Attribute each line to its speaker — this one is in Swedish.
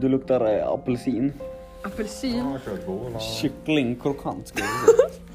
Speaker 1: Du luktar eh, apelsin.
Speaker 2: Apelsin.
Speaker 3: kör två.
Speaker 1: Kycklingkrokant ska jag säga.